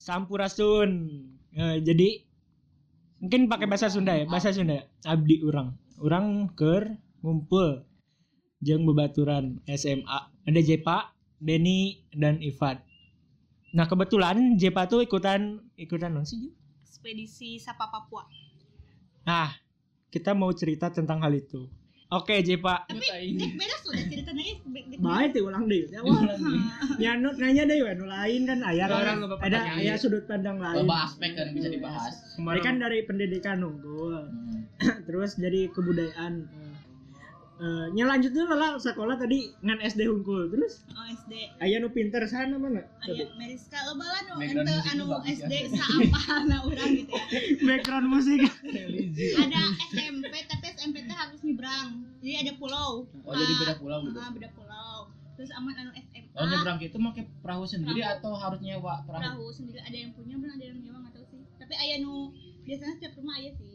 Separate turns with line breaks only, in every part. Sampurasun. Eh, jadi mungkin pakai bahasa Sunda ya, bahasa Sunda. Abdi urang. Urang keur ngumpul jeung bebaturan SMA. Ada Jepa, Denny dan Ivan. Nah, kebetulan Jepa tuh ikutan ikutan non sih? Ju?
ekspedisi Sapa Papua.
Nah, kita mau cerita tentang hal itu. Oke, Jepa.
Tapi Dek beres sudah ceritanya Dek Beres.
Baik tuh ulang deh. Ya, ulang. Ya, nu- nanya deh, nu lain kan ayah kan.
Orang lu bapak
ada
tanyain.
ayah sudut pandang lain.
Beberapa aspek kan yang bisa dibahas.
Mereka kan dari pendidikan unggul,
Hmm.
terus dari kebudayaan. Eh, nya lanjut dulu lah sekolah tadi ngan SD unggul, terus
Oh SD.
ayah nu pinter sana mana?
Aya Meriska loba lah nu
Background
ente
musik
anu
lu bagus
SD
ya.
saapa na urang gitu ya.
Background musik.
Ada SMP tapi SMP teh harus nyebrang. Jadi ada pulau.
Oh jadi
Ah,
beda pulau gitu.
Ah, beda pulau. Terus aman anu SMA.
Oh nyebrang gitu pakai perahu sendiri
Perahu.
atau harus nyewa perahu?
Perahu sendiri ada yang punya belum ada yang nyewa nggak tahu sih. Tapi aya nu biasanya setiap rumah aya sih.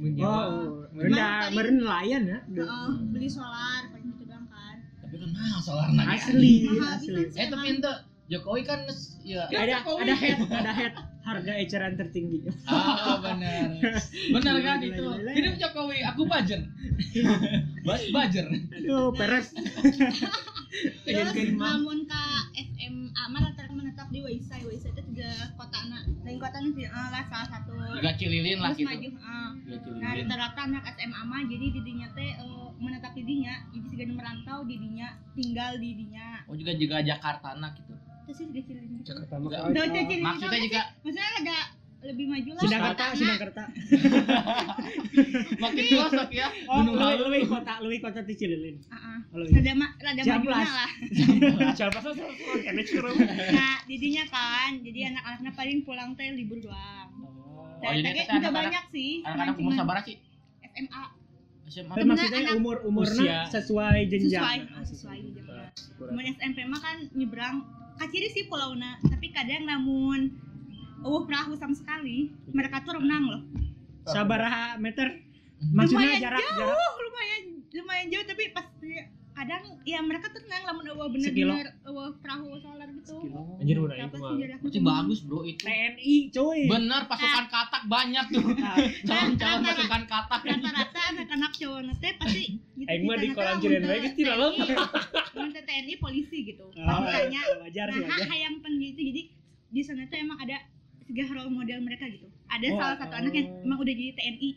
Oh.
Wow, merendah, meren nelayan ya.
Heeh, Ah, beli solar paling gitu doang kan.
Tapi kan mahal solar lagi.
Asli,
Mahal
asli.
pisan sih
Eh tapi
emang.
ente Jokowi kan ya.
Ada ada head, ada head harga eceran tertinggi.
Ah benar. Benar kan
Gila,
itu.
gila, gila.
Hidup Jokowi, aku budget. Bas budget.
Aduh, peres.
Iya,
Terus
Jadi mah.
namun ke SMA mah rata menetap di Waisai. Waisai itu tiga kota anak. Lain kota sih eh, lah salah satu.
Gak cililin lah
Terus maju. eh.
gitu. Gak
Nah,
cililin.
rata-rata anak SMA mah jadi didinya teh eh, menetap didinya, jadi segala merantau didinya, tinggal didinya.
Oh juga juga Jakarta anak gitu.
Terus sih juga cilin gitu.
Pertama
Udah,
kali.
Udah cilin
Oh, Maksudnya juga
Maksudnya ada lebih maju lah.
Sidangkerta,
kotanya.
Sidangkerta.
makin pelosok ya.
Oh,
Gunung
lebih,
Halu.
lebih kota, lebih kota di Cililin.
Ah, ah.
iya.
Kalau
Rada ma- rada
Jam
majunya
belas.
lah.
Siapa sih? Kayaknya cukup.
Nah, didinya kan, jadi anak-anaknya paling pulang teh libur doang.
Oh, jadi
Tapi
itu
juga
anak-anak-
banyak sih,
Anak-anak umur
cuman
sabar sih.
SMA
SMA.
Tapi maksudnya
anak-
umur umurnya
Usia.
sesuai jenjang.
sesuai ah, sesuai gitu Mun SMP mah kan nyebrang kaciri sih pulauna tapi kadang namun uh perahu sama sekali
Iya.
mereka tuh renang loh
Sabaraha meter? Maksudnya
lumayan
jarak
jauh
jarak
lumayan lumayan jauh tapi pasti kadang ya mereka tuh renang namun eueuh
Sekilo.
bener-bener eueuh perahu solar gitu
Anjir udah
Berapa
Nah, itu
sih
mah.
jaraknya?
Berarti
Hmm.
bagus bro itu.
TNI coy.
Bener pasukan katak banyak tuh.
Nah,
Calon-calon pasukan katak.
rata-rata anak-anak cowok nanti pasti gitu
Aing mah di
gitu,
kolam
nanti
cilian
mun
bae
teu
geus Oh. tidak lama.
TNI, mun teu TNI polisi gitu
Ah,
makanya
wajar sih
nah
wajar.
hayang pengen gitu jadi di sana tuh emang ada tiga role model mereka gitu ada
Oh,
salah satu anak yang
oh.
emang udah jadi TNI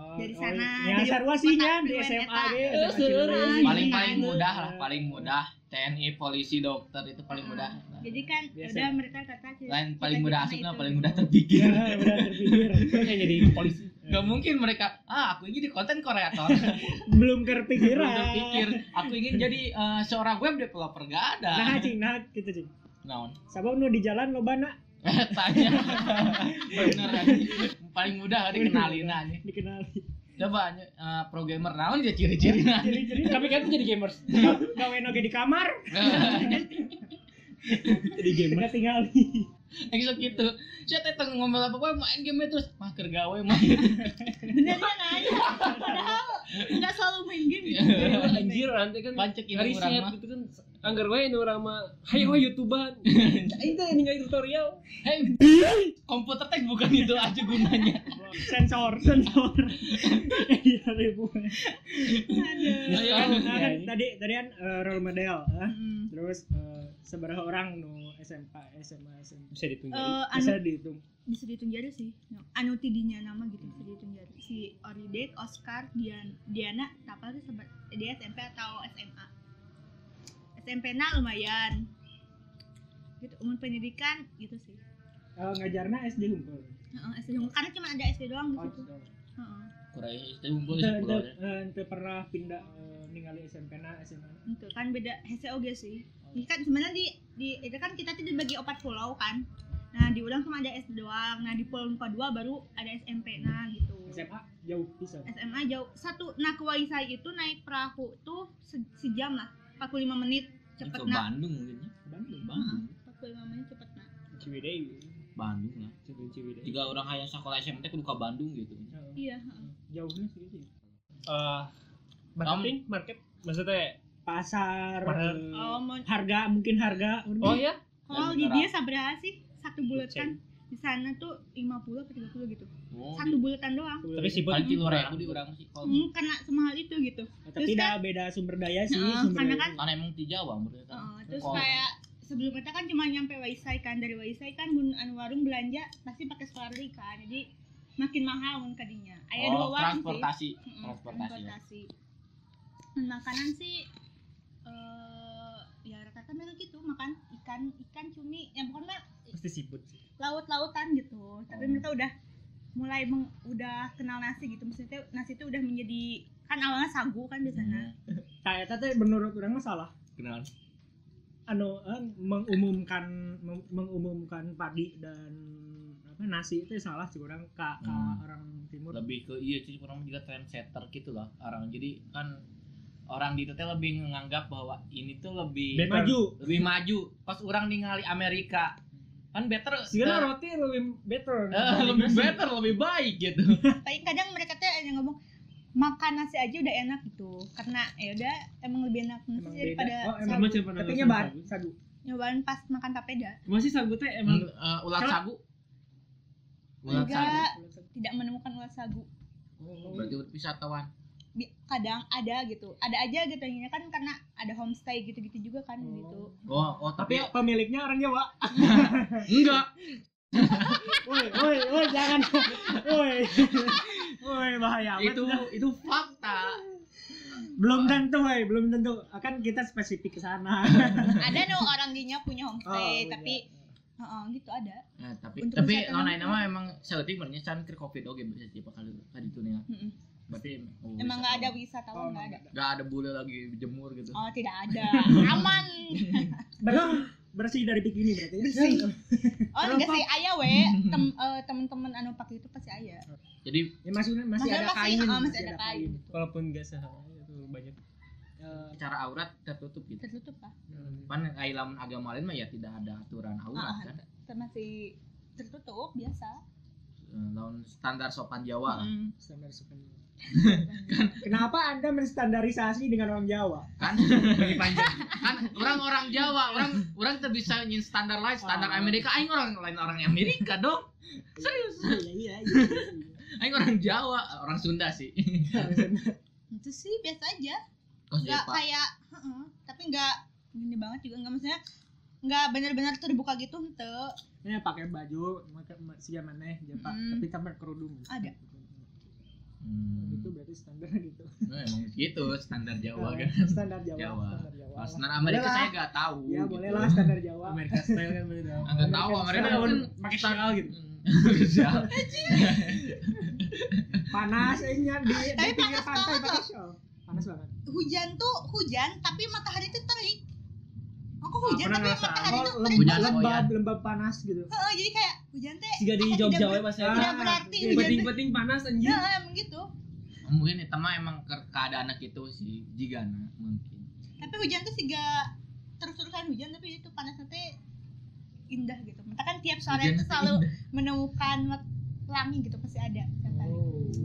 Oh,
dari
oh,
sana,
Nya
dari
sarua sih
kota
nya di
Cileun,
SMA
eta.
ge.
Eh, seueur anjing.
paling paling
Iya.
mudah lah paling mudah TNI polisi dokter itu paling
Ah.
mudah
jadi kan
Biasa.
udah mereka kata
lain paling
gitu
mudah asup lah paling mudah terpikir
Ya, udah terpikir.
Kayak jadi Iya. polisi.
Gak mungkin mereka, ah aku ingin di konten kreator
Belum
Belum
kepikiran.
terpikir, aku ingin jadi eh, seorang web developer Gak
Nah,
ada
cing, nah gitu cing.
Naon
Sabang nu di jalan loba na
Tanya Bener Paling mudah dikenalin aja
dikenali.
Coba eh, programmer naon dia ciri-ciri nah.
Jadi
Kami kan tuh jadi gamers.
gawe oge di kamar
Nah.
Jadi gamers.
nggak tingali
Kayak gitu gitu Saya teh teu ngomel apa-apa main game terus Mah keur gawe mah
benernya nanya padahal nggak selalu main game gitu
Anjir nanti kan
Pancek ibu
hari
urang
set
mah
gitu kan anggar wae nu urang mah hayo wae youtuber. Aing teh ningali tutorial.
Hei, komputer teh bukan itu aja gunanya.
sensor sensor iya ribuan
Aduh.
Ayo,
Nah,
ayo.
kan tadi tadi kan eh, role model ah.
Mm.
terus eh, seberapa orang nu SMK SMA SMA
Bisa ditunggu.
Eh, anu
bisa dihitung
bisa dihitung jari sih No. anu tidinya nama gitu bisa dihitung jari si Oridek Oscar Dian Diana apa sih sebat dia SMP atau SMA SMP na lumayan gitu umum pendidikan gitu sih
Eh, ngajarna SD hunkul
Heeh, SD doang. karena cuma ada SD Oh, doang di situ Heeh,
Kurai itu unggul
Ente- ente
sepuluh.
eh, ente pernah pindah eh, ningali SMP na SMA na?
itu kan beda HCOG sih ini kan sebenarnya di di itu kan kita tuh dibagi opat pulau kan nah di ulang cuma ada SD doang nah di pulau kedua baru ada SMP nah gitu
SMA jauh bisa
SMA jauh satu nah ke Waisai itu naik perahu tuh se- sejam lah 45 menit cepet
Ke
nak
Bandung mungkin. ya.
Bandung
Bandung.
45 menit cepet nak
Ciwidey
Bandung lah.
Ciwidey Ciwidey
Tiga orang hayang sekolah SMP kudu ke Bandung gitu.
Heeh.
iya heeh.
jauhnya segitu ya.
Eh marketing, market maksudnya
pasar
Pasar.
eh,
oh mon
harga mungkin harga
oh ya
kalau di dia sabra sih satu bulan kan di sana tuh 50 atau 30 gitu
Oh,
satu bulatan doang
Tapi siput
Panci lore aku di orang sih kalau
hmm, kena semahal itu gitu
Eh, Tapi
Terus
tidak beda sumber daya sih.
Heeh,
sumber
karena
daya.
kan-
karena emang di Jawa menurut kan.
Uh, terus
Kalau-
kayak sebelum kita kan cuma nyampe Waisai kan dari Waisai kan gunaan warung belanja pasti pakai selari kan jadi makin mahal mun kadinya aya dua
Oh,
warung sih
transportasi.
Mm-mm,
Transportasi.
transportasi. Dan makanan sih eh ya rata-rata mereka gitu makan ikan ikan cumi ya bukan lah
Pasti siput sih.
laut-lautan gitu tapi
Oh.
mereka udah mulai meng- udah kenal nasi gitu maksudnya nasi itu udah menjadi kan awalnya sagu kan di sana
Kayak tadi menurut orang masalah.
Hmm. Kenalan.
Anu eh, mengumumkan mem- mengumumkan padi dan apa nasi itu salah sih orang ka, ka
Hmm.
orang timur.
lebih ke iya sih orang juga trendsetter gitu loh orang jadi kan orang di itu teh lebih menganggap bahwa ini tuh lebih
Better. Maju.
lebih maju pas orang ningali Amerika kan better eh,
Sekarang roti lebih better.
eh, lebih better lebih baik gitu
tapi kadang mereka tuh ada yang ngomong makan nasi aja udah enak gitu karena ya udah emang lebih enak nasi
Emang beda.
daripada
Oh, emang
sagu.
macam
Tapi
penalasan
nyobain
sagu.
sagu. Hmm.
nyobaan pas makan papeda
Masih sagu teh emang
emang eh, ulat
Kalau-
sagu ulat sagu
enggak tidak menemukan ulas sagu
berarti wisatawan
Bi- kadang ada gitu ada aja gitu yang ini kan karena ada homestay gitu-gitu juga kan
Oh.
gitu
oh oh
Tapi
Iya.
tapi
pemiliknya orang Jawa.
enggak
Woi, woi, woi jangan. Woi. Woi bahaya amat.
itu itu fakta
belum tentu, woi, belum tentu. Akan kita spesifik ke sana.
ada dong orang dinya punya
Oh,
homestay tapi Heeh, gitu ada
nah, tapi
Untuk
tapi
wisatawan.
lain nama emang sautik merenyasan ke covid oke bisa sih kali kali itu nih
Mm-mm.
berarti oh,
emang nggak ada
wisatawan.
wisatawan nggak ada
Gak ada bule lagi jemur gitu.
oh tidak ada aman
Bersih, bersih dari bikini berarti. ya?
Bersih. oh enggak
Kenapa?
sih ayah we Tem, eh, temen-temen anu pakai itu pasti ayah
Jadi
Ya, masih masih
Maksudnya
ada
masih-
kain.
oh, masih ada kain.
walaupun gak sehal itu banyak.
Eh,
cara aurat tertutup gitu.
tertutup lah
Pan ai lamun agama lain mah ya tidak Hmm. ada aturan aurat
Ah,
kan.
ter- masih tertutup biasa
Eh, Lawan standar sopan Jawa. lah.
Mm.
standar Sukarno. Kenapa Anda menstandarisasi dengan orang Jawa?
Kan bagi panjang. Kan orang-orang Jawa, orang orang tuh bisa nyin standar lain, standar
Ah.
Amerika. Aing orang lain orang Amerika dong. Serius.
Iya, iya, iya.
Aing orang Jawa, orang Sunda sih.
itu sih biasa aja
Iya,
Kos
nggak
Pak.
kayak heeh, tapi nggak gini banget juga nggak maksudnya nggak benar-benar terbuka gitu ente
Ini pakai baju siapa maneh ya, Pak.
Hmm.
tapi tambah kerudung.
Ada.
Hmm.
Itu berarti standar gitu.
Nah, emang gitu standar Jawa kan.
Eh, standar Jawa,
Jawa.
standar Jawa.
Kalau standar Amerika
Boleh lah.
saya gak tahu.
Ya
gitu.
boleh lah standar Jawa.
Amerika style kan beda.
Ah, nggak tahu, Amerika
Standar
kan Hmm. mungkin
pakai shawl gitu.
Siap.
Panas eh, nya di, di
Tapi
pinggir
panas
pantai
banget
pakai shawl. Panas banget.
hujan tuh hujan tapi matahari tuh terik aku
Ah,
hujan
pernah
tapi
ngerasa.
matahari tuh
lembab,
terik
Hujan ya.
banget
lembab,
soyan.
lembab panas gitu.
Heeh, jadi kayak hujan teh
Jika di
Ah,
Jogja
tidak
we pas
ber-
saya.
tidak berarti
iya.
hujan teh
Penting-penting panas anjir.
Heeh, emang gitu
mungkin itu mah emang ke keadaan anak itu sih jigana mungkin
tapi hujan tuh siga terus-terusan hujan tapi itu panasnya teh indah gitu Mata kan tiap sore
Hujan
itu selalu
indah.
menemukan wat- pelangi gitu pasti ada tiap hari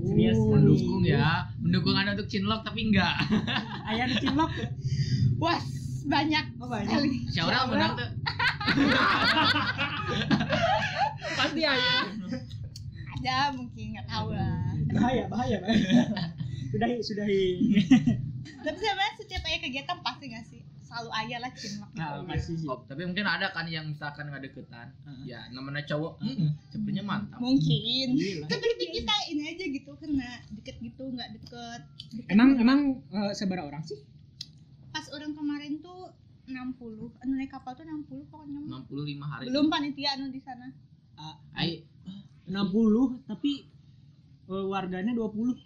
Iya,
Serius,
mendukung ya mendukung anda untuk cinlok tapi enggak
Ayah di cinlok.
wah banyak
Oh, banyak.
sekali.
Syaura benar tuh
Pasti aja.
ada mungkin nggak tahu lah
Bahaya, bahaya, bahaya. Sudahi, sudahi.
tapi sebenarnya setiap ayah kegiatan pasti nggak sih selalu ayah lah cinlok gitu.
Nah, masih sih.
Oh, tapi mungkin ada kan yang misalkan nggak deketan
Heeh.
ya namanya cowok mm, sebenarnya mantap
mungkin
Gila.
tapi kita ini aja gitu kena deket gitu nggak deket, deket.
Emang emang eh, seberapa orang sih?
pas orang kemarin tuh 60 anu naik kapal tuh 60 pokoknya
65 hari
belum panitia anu di sana
Ai,
60 Ah, tapi eh, warganya 20.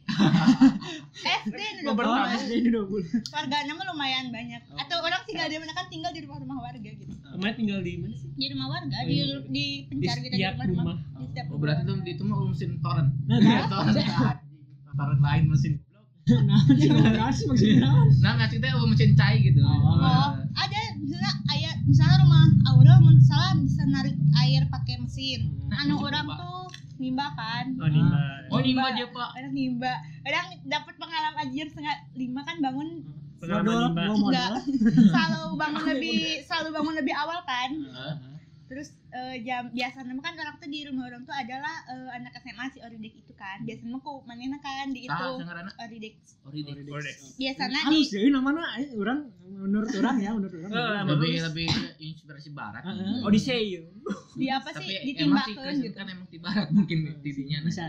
SD
Mau
udah
bertamu.
banyak.
SD ini 20.
warga nama lumayan banyak
Oh.
atau orang sih nggak ada mana kan tinggal di rumah-rumah warga gitu
Kemarin tinggal di mana sih?
di rumah warga
Oh,
di
iya.
di pencar
Di
gitu
setiap rumah.
di setiap
oh, berarti itu
rumah warga.
itu mah urusin torrent
Nah,
torrent torrent lain mesin
nah, sih nah, sih maksudnya. nah.
nah maksudnya itu mesin cai gitu
Oh, ada misalnya ayah misalnya rumah Aurel misalnya bisa narik air pakai mesin.
Hmm.
Anu
Mesin
orang
pompa.
tuh nimba kan.
Oh, nimba.
oh nimba dia pak
Orang nimba. Orang dapat pengalaman ajar setengah lima kan bangun
Modal,
Pengalaman nimba.
mau
enggak
modal.
selalu bangun lebih selalu bangun lebih awal kan. terus eh, jam biasanya mah kan orang tuh di rumah orang tuh adalah eh, anak SMA si Oridek itu kan biasanya mah ku manehna kan di itu
Tah, sangarana
Oridek
Oridex.
Oridex.
biasanya di
halus deh namanya eh, orang menurut orang ya menurut orang
Eh,
orang
Lebih
halus.
lebih inspirasi barat. Gitu.
Heeh,
Oh,
Odyssey
di apa sih
Tapi emang sih
ditimbakeun
Kristen
gitu
kan emang di barat mungkin tidinya. nah.
bisa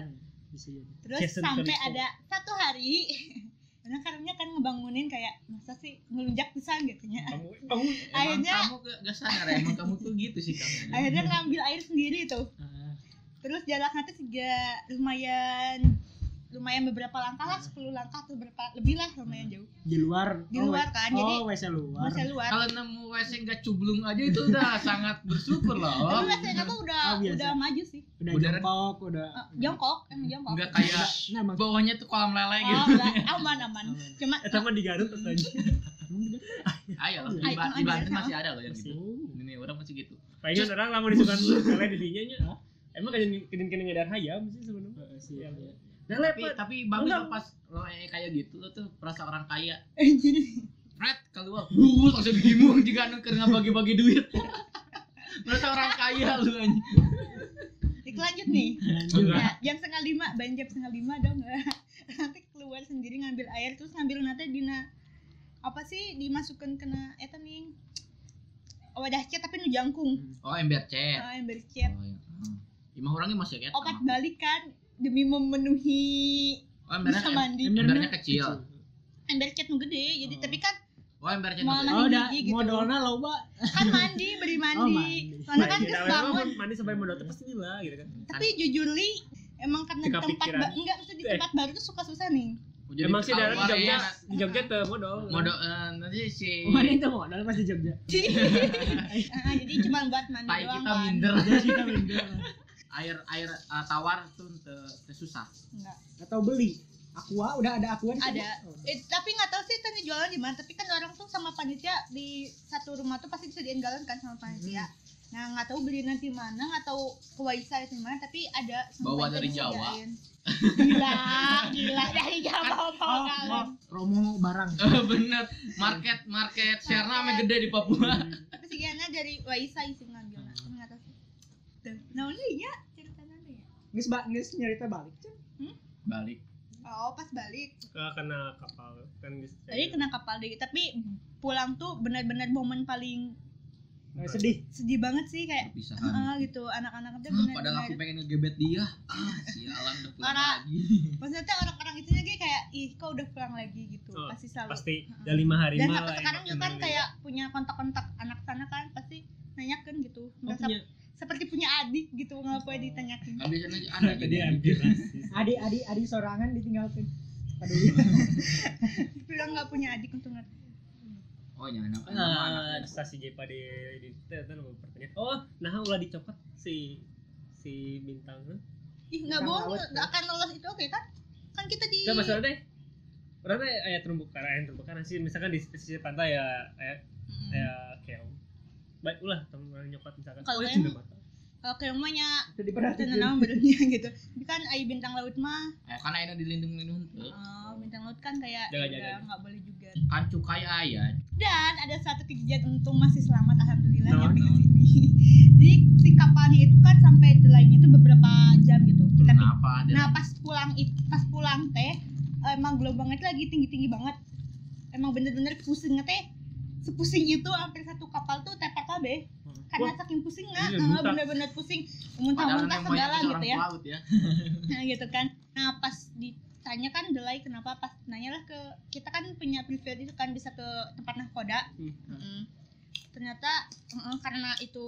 bisa jadi.
terus
Jason
sampai
Felico.
ada satu hari karena karena kan ngebangunin kayak masa sih ngelunjak pisan gitu nya
Emang
Akhirnya-
kamu gak, gak sadar emang kamu tuh gitu sih kamu. Eh,
akhirnya ngambil air sendiri tuh
Ah,
terus jaraknya tuh juga lumayan lumayan beberapa langkah
Hmm.
lah 10 langkah atau berapa lebih lah lumayan jauh
di luar
Di
oh,
luar
we-
kan,
oh,
jadi-
WC luar
masa luar
Kalau nemu WC gak cublung aja itu udah sangat bersyukur loh.
tapi rasanya aku udah
Oh, biasa. Hmm.
udah maju sih
udah
Udah-
jongkok udah
Eh, jongkok emang jongkok
Enggak kayak
nah emang
bawahnya tuh kolam lele gitu.
oh enggak aman aman
Aman.
cuma
Eh, sama di Garut atau di- Emang di Garut?
Ayo loh,
Ayo,
di, Ba-
emang
di
ada
Banten
sama.
masih ada loh yang gitu.
Oh.
Ini orang masih gitu.
Palingan orang lama disukan kalau di dinya nya. Emang kan kena kena ngedan hayam sih sebenarnya.
Heeh, sih,
Iya.
iya.
Nah,
Tapi
lepat.
tapi bagus
Enggak.
loh pas lo eh, kayak gitu lo tuh perasa orang kaya.
jadi
Fred keluar, bus langsung dihimu jika anu kena bagi-bagi duit. Merasa orang kaya lu anjing.
lanjut nih
Lanjut.
Ya, jam setengah lima ban jam setengah lima dong nggak nanti keluar sendiri ngambil air terus ngambil nanti dina apa sih dimasukkan kena eta nih wadah cat tapi nu jangkung
Oh ember cet.
Ah, ember cat
Oh, iya. Hmm. Imah orangnya masih ya, kayak
opat
Iya.
balik kan demi memenuhi
Oh embernya,
bisa mandi
Embernya
embernya kecil.
Gitu.
ember cat nu gede jadi
Oh.
tapi kan
Oh ember cet.
Mau-
Oh, udah
Gigi gitu.
modalnya loba.
kan mandi beri
Oh,
mandi
mandi.
soalnya kan
Kita
kes
memang
bangun
mandi sampai modal tuh pasti lah gitu kan.
tapi jujur li emang karena di
Suka
tempat
pikiran.
ba- enggak maksudnya di tempat baru tuh suka susah nih
Emang sih dari
daerah
Jogja, di Jogja tuh modal.
Modal eh, nanti si
Mana itu modal pasti Jogja.
Ah, jadi cuma buat mandi
tai
doang
kita
kan
minder.
Jadi kita modal.
Air air eh, tawar tuh te- te susah.
enggak
Atau beli. Aqua udah ada Aqua di sana?
ada
Oh.
eh, tapi nggak tahu sih tadi jualan di mana tapi kan orang tuh sama panitia di satu rumah tuh pasti disediain galon kan sama panitia
Hmm.
nah nggak tahu beli nanti mana nggak tahu ke Waisa itu mana tapi ada sama
Bawa
panitia
dari
disediain.
Jawa.
gila gila dari
Kan,
Jawa bawa bawa
Oh, oh,
galon
Romo barang.
Eh, Bener. Market market share nama gede di Papua.
tapi si Giana dari Waisa sih ngambil nah,
Hmm.
nggak tahu sih Tuh. nah ini ya cerita nanti ya
Nges ba nges nyerita balik. Cen.
Balik.
oh pas balik
Iya.
Kena kapal kan guys.
tadi kena kapal deh tapi pulang tuh benar-benar momen paling
Eh, sedih.
sedih banget sih kayak
Perpisahan.
ah gitu anak-anak tuh
Ah, Iya kan? Padahal aku
benar-benar
pengen ngegebet dia. Ah, sialan udah pulang
Parah.
lagi.
maksudnya orang-orang itu juga kayak ih kok udah pulang lagi gitu
Oh,
pasti selalu
Pasti udah lima hari
dan
mah
sampai
lah
sekarang juga
enak
kan
kenangan.
kayak punya kontak-kontak anak sana kan pasti nanyakan gitu
Oh,
merasa
punya
seperti punya adik gitu nggak boleh ditanyakin
Kan biasanya ada
Tadi
jadi
hampir
adik-adik adik sorangan ditinggalkan. Aduh.
bilang nggak punya adik untungnya
Oh, jangan apa
Nah, stasi Jepa di di teh teh nomor pertanyaan. Oh, nah ulah dicopot si si bintang. Nah,
ih nggak
Orang
bohong
laut,
nggak akan lolos itu oke kan kan kita di
Coba masalah deh. Berarti ayat terumbu karang, ayat terumbu karang sih misalkan di pesisir pantai ya ayat
Mm-mm.
ayat keong. Baik ulah teman orang nyokot misalkan.
Kalau
oh,
yang-
cendera mata.
kalau ke rumahnya
Itu diperhatiin.
tenang nama badannya gitu Tapi kan ayu bintang laut mah
Eh, Karena ini dilindung-lindung tuh.
eh, bintang laut kan kayak
Jaga-jaga.
udah nggak boleh juga
Kan cukai ayah.
Dan ada satu kejadian untung masih selamat alhamdulillah
Nah,
nyampe ke
nah.
sini. Jadi si kapalnya itu kan sampai delaynya itu beberapa jam gitu.
Hmm,
Tapi
Kenapa ada?
nah pas pulang it- pas pulang teh emang gelombangnya itu lagi tinggi-tinggi banget. Emang bener-bener pusingnya teh sepusing itu hampir satu kapal tuh tepar kabeh
Hmm.
karena saking pusingnya
Iya,
eh,
muntah.
bener-bener pusing
Padahal
muntah-muntah
yang banyak
segala
itu
gitu
orang
ya
pelaut ya.
nah gitu kan nah pas ditanya kan delay kenapa pas nanyalah ke kita kan punya privilege itu kan bisa ke tempat nahkoda
Hmm.
Mm. ternyata eh, karena itu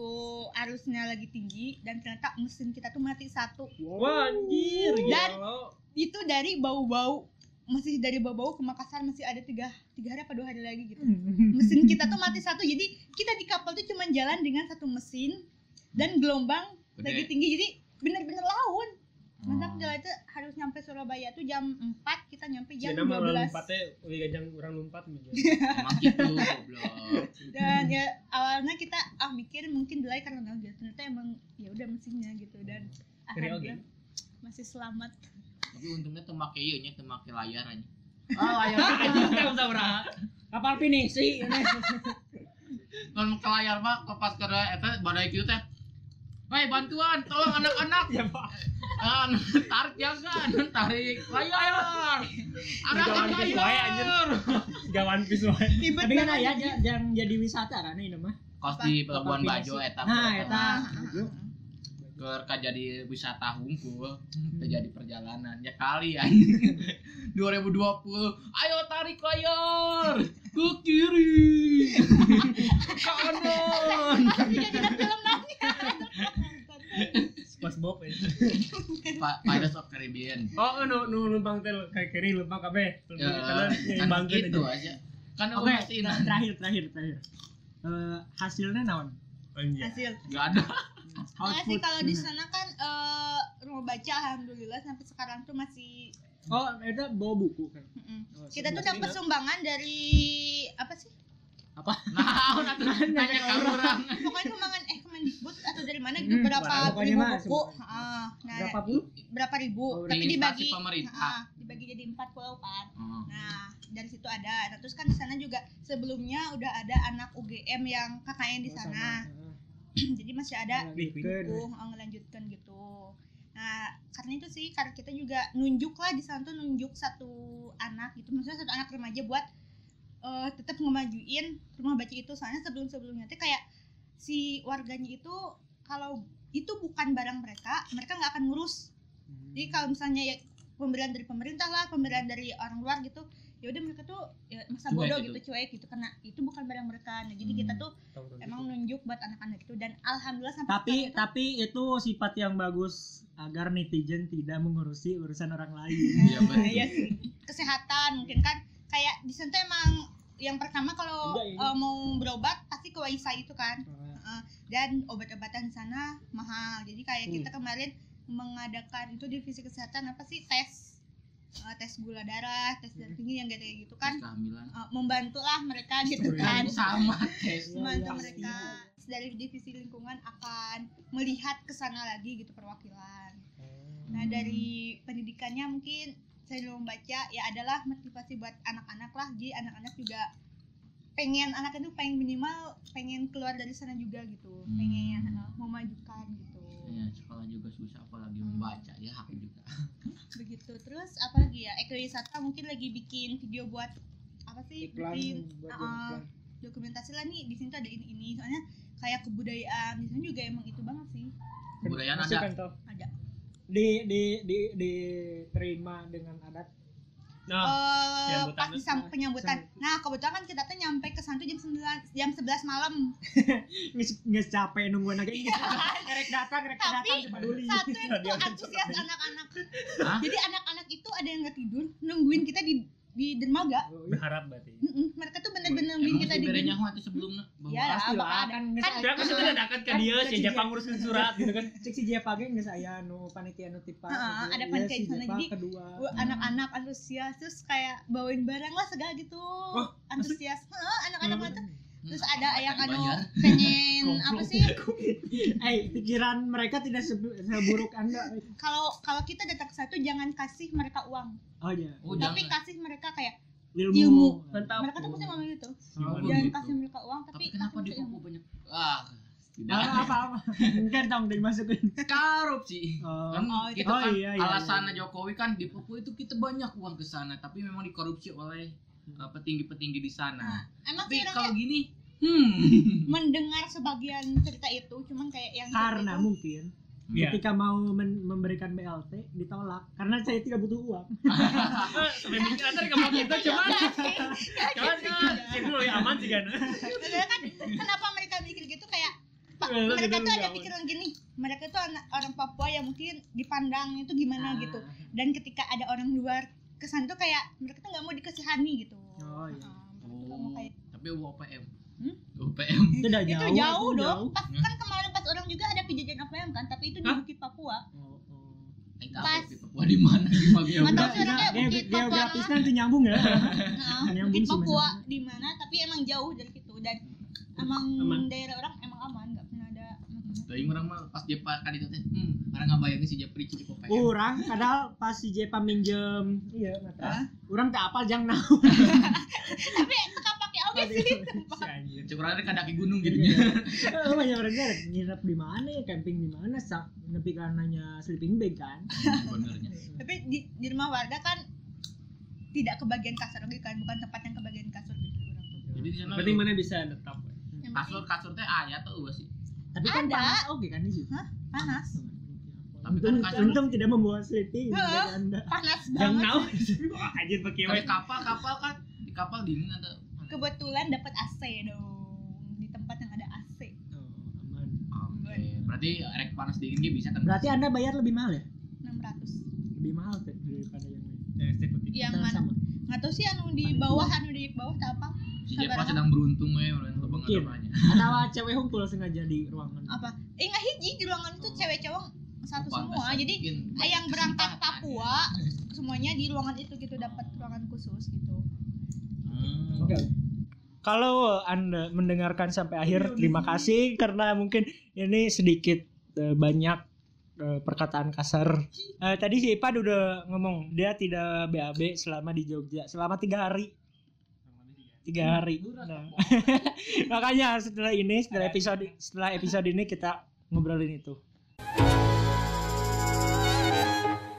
arusnya lagi tinggi dan ternyata mesin kita tuh mati satu
Wah, anjir. ya
Dan-
gila.
itu dari bau-bau masih dari bau-bau ke Makassar masih ada tiga tiga hari apa dua hari lagi gitu mesin kita tuh mati satu jadi kita di kapal tuh cuman jalan dengan satu mesin dan gelombang
Gede.
lagi tinggi jadi bener-bener laut Masa
Oh.
jalan itu harus nyampe Surabaya tuh jam 4, kita nyampe jam
Cina mah orang
12.
lompatnya udah gajang orang lompat gitu.
Emang gitu, goblok.
Dan ya awalnya kita ah mikir mungkin delay karena nggak hujan. ternyata emang ya udah mesinnya gitu dan
Keri
akhirnya masih selamat.
Tapi untungnya tuh make ieu nya, tuh make layar aja. Ah, layar anjing teu sabraha.
Kapal pinisi.
Kan ke layar mah ke pas ke eta badai kieu teh Hei bantuan, tolong anak-anak.
Ya, Pak.
Ah, tarik jangan, tarik layar. Arahkan
Jangan bikin bahaya, anjir.
layar.
Gawan pis wae.
Ribet
Tapi kan
banget.
ya ja- yang jadi wisata kan ini mah.
Kos di Pelabuhan
Apa
Bajo eta.
Nah,
eta.
eta.
Ah, ah, ah, ah.
Keur ka jadi wisata hungkul, terjadi perjalanan ya kali anjing. 2020, ayo tarik layar ke kiri, ke kanan.
Tapi jadi ada film Iya, nanya. Iya.
SpongeBob. ya.
Pa- Pirates of Caribbean.
Oh, nu nu lempang teh kayak kiri lempang kabeh.
Ya,
Karena
kan
nyeimbangkeun
gitu
aja.
aja. Kan
Oke,
masih
ter- terakhir terakhir terakhir. Eh, hasilnya naon?
Anjir.
Hasil.
Gak ada.
Nah, sih kalau di
gimana?
sana kan eh, rumah baca alhamdulillah sampai sekarang tuh masih
Oh, itu bawa buku kan.
Mm-mm.
Oh,
kita tuh
sebenarnya.
dapat sumbangan dari apa sih?
Nah, udah tuh nanya ke orang.
Pokoknya sumbangan eh Kemendikbud atau dari mana gitu
Hmm,
barang.
berapa
Pokoknya
ribu
mah
buku.
sumbangan.
Ah, nah,
Berapa puluh?
berapa ribu
Oh,
tapi
dari
dibagi
instansi pemerintah.
Ah, dibagi jadi 40 kan. Nah, dari situ ada. Nah, terus kan di sana juga sebelumnya udah ada anak UGM yang kakaknya di
Oh,
sana.
sama.
Jadi masih
Iya,
ada
Lanjutkan.
buku oh, ngelanjutkan gitu. Nah, karena itu sih karena kita juga nunjuk lah di sana tuh nunjuk satu anak gitu. Maksudnya satu anak remaja buat eh, tetap ngemajuin rumah baca itu. Soalnya sebelum-sebelumnya tuh kayak si warganya itu kalau itu bukan barang mereka, mereka nggak akan ngurus jadi
Hmm.
kalau misalnya ya pemberian dari pemerintah lah pemberian dari orang luar gitu ya udah mereka tuh ya, masa
Cuek
bodoh
gitu.
gitu. cuek gitu karena itu bukan barang mereka nah jadi kita
Hmm.
tuh
Tong, tong,
emang
tong.
nunjuk buat anak-anak itu dan alhamdulillah
Gitu.
sampai
Tapi
sekarang
tapi itu sifat yang bagus agar netizen tidak mengurusi urusan orang lain. Nah,
tuh,
Iya,
eh,
betul.
iya sih. kesehatan mungkin kan kayak di sana tuh emang yang pertama kalau
Enggak, ini.
eh, mau berobat pasti ke Waisa itu kan dan obat-obatan di sana mahal jadi kayak
Hmm.
kita kemarin mengadakan itu divisi kesehatan apa sih tes Eh, tes gula darah tes darah
Hmm.
tinggi yang kayak gitu kan
Terus kehamilan.
uh, membantulah mereka gitu
Sorry.
kan
sama tes.
membantu
Iya,
mereka dari divisi lingkungan akan melihat ke sana lagi gitu perwakilan nah dari pendidikannya mungkin saya belum baca ya adalah motivasi buat anak-anak lah jadi anak-anak juga pengen anak itu pengen minimal pengen keluar dari sana juga gitu
Hmm.
pengen uh, memajukan gitu
Ya, sekolah juga susah apalagi
Hmm.
membaca ya hak juga.
begitu terus apa lagi ya ekowisata mungkin lagi bikin video buat apa sih bikin
buat
Ah, dokumentasi lah nih di sini tuh ada ini ini soalnya kayak kebudayaan di sini juga emang itu banget sih
Kebudayaan ada.
ada.
ada
Di di di diterima dengan adat.
Nah,
Eh,
penyambutan
pas
tuh.
disam- penyambutan
Penyambutan.
nah kebetulan kan kita tuh nyampe ke sana tuh jam 9 jam 11 malam
Nges nges capek nungguin aja. Rek datang, rek
Iya. Tapi-
datang cuma dulu.
satu yang
Dia
tuh antusias anak-anak
Hah?
jadi anak-anak itu ada yang nggak tidur nungguin kita di di dermaga
Oh, iya.
berharap berarti.
Mm-mm, mereka tuh bener-bener nungguin
Emang
kita
sih
di
berenya
dermaga
nyaho itu sebelumnya bahwa
Ya.
Pasti lah
bakal-
kan nges
kan-
Udah kan itu dadakan ke dia
Kan,
si
kan,
Jepang ngurusin surat gitu kan.
cek si Jepa ge nggak saya nu ya, panitia nu tipa
Ah,
gitu.
ada
Iya,
panitia
si
di sana,
Jepa
jadi-
kedua
Wah, anak-anak antusias terus kayak bawain barang lah segala gitu antusias Heeh, anak-anak mah kan tuh terus ada
Hmm,
yang anu pengen apa
Hmm, Goblok.
sih
eh pikiran mereka tidak sebe- seburuk anda
kalau kalau kita datang ke satu jangan kasih mereka uang
oh ya
Oh,
tapi
Jangan.
kasih mereka kayak
ilmu,
Ilmu.
mantap
mereka tuh pasti ngomong gitu
Oh,
jangan
gitu.
kasih mereka uang tapi,
Tapi kenapa di
kasih mereka ilmu.
Papua banyak ah
apa
tidak
apa, apa. mungkin tong dimasukin
Ah,
korupsi.
oh,
Kan
Oh,
kita
oh,
kan
iya, iya,
alasannya
iya.
Jokowi kan di Papua itu kita banyak uang ke sana tapi memang dikorupsi oleh uh, petinggi-petinggi di sana.
emang sih
tapi
orang
kalau
kayak
gini, hmm.
mendengar sebagian cerita itu cuman kayak yang cerita
karena
itu,
mungkin
Iya.
ketika mau men- memberikan BLT ditolak karena saya tidak butuh uang
Eh, Sampai mikir antar ke Bang
Iya,
itu cuman cuman kan sini lebih aman sih kan.
gitu. Padahal kan kenapa mereka mikir gitu kayak Pak,
Iya,
Eh,
gitu,
lu
mereka
tidur
tuh
di
ada
awal.
pikiran gini mereka tuh anak- orang Papua yang mungkin dipandang itu gimana
Ah.
gitu dan ketika ada orang luar kesan tuh kayak mereka tuh nggak mau dikasihani gitu
Oh, iya.
Heeh, mereka tuh nggak mau
Oh,
kayak
tapi UPM.
Hmm?
UPM.
itu udah
itu
Oh. jauh
jauh, dong
jauh.
pas kan kemarin pas orang juga ada kejadian OPM kan tapi itu di
Hah?
Bukit Papua
Oh, oh.
Eh, tahu
Pas.
di Papua di mana di bagian
Nggak tahu
Udah,
sih, orang
nah,
kayak Bukit
ge-
Papua
geografis
lah.
nanti nyambung ya
nah,
Nyambung
Bukit
sih
Papua
masalahnya.
di mana tapi emang jauh dari situ dan emang
Aman.
daerah orang emang aman nggak pernah ada
Tuh yang orang mah pas dia kan itu teh, hmm, orang nggak bayangin si Jepri di UPM.
orang kadal pas si Jepa minjem iya mata
Hah?
orang tak apa jangan
tapi suka pakai obat Iya, sih
si anjir
Cukurannya ke daki gunung
Iya,
gitu
Eh, banyak orang garek nginep di mana ya camping di mana sak nepi karenanya sleeping bag kan
Benernya.
tapi di, di rumah warga kan tidak kebagian kasur gitu kan bukan tempat yang kebagian kasur gitu orang tuh
Jadi di sana
berarti mana bisa netap ya?
yang
kasur
penting
kasur teh ayah tuh sih.
tapi kan
Ada.
panas oke kan di situ
panas
Tapi kan
untung,
kasur-
untung tidak membawa sleeping bag
Hah?
anda
panas
yang
banget
tahu wah anjir pakai
Kayak kapal kapal kan di kapal dingin ada
kebetulan dapat AC dong di tempat yang ada AC
oh, aman
Oke, berarti rek panas dingin dia bisa kan?
berarti anda bayar lebih mahal ya
600
lebih mahal Teh, daripada yang lain
yang eksekutif
yang
Sama-
mana
sama.
nggak tahu sih anu di bawah anu di bawah tak apa
Si
kan
Jepa sedang beruntung ya, orang tua banget
Mungkin.
banyak.
atau cewek hunkul sengaja di ruangan
apa eh nggak hiji di ruangan itu cewek cowok satu
Lupa,
semua
nggak
jadi
mungkin.
eh, yang berangkat
Kesempatan.
Papua semuanya di ruangan itu gitu dapat ruangan khusus gitu
Hmm.
Enggak. Kalau Anda mendengarkan sampai akhir, terima kasih karena mungkin ini sedikit eh, banyak eh, perkataan kasar. Eh, tadi si Ipan udah ngomong dia tidak BAB selama di Jogja selama tiga hari. Tiga hari. Nah. Makanya setelah ini, setelah episode setelah episode ini kita ngobrolin itu.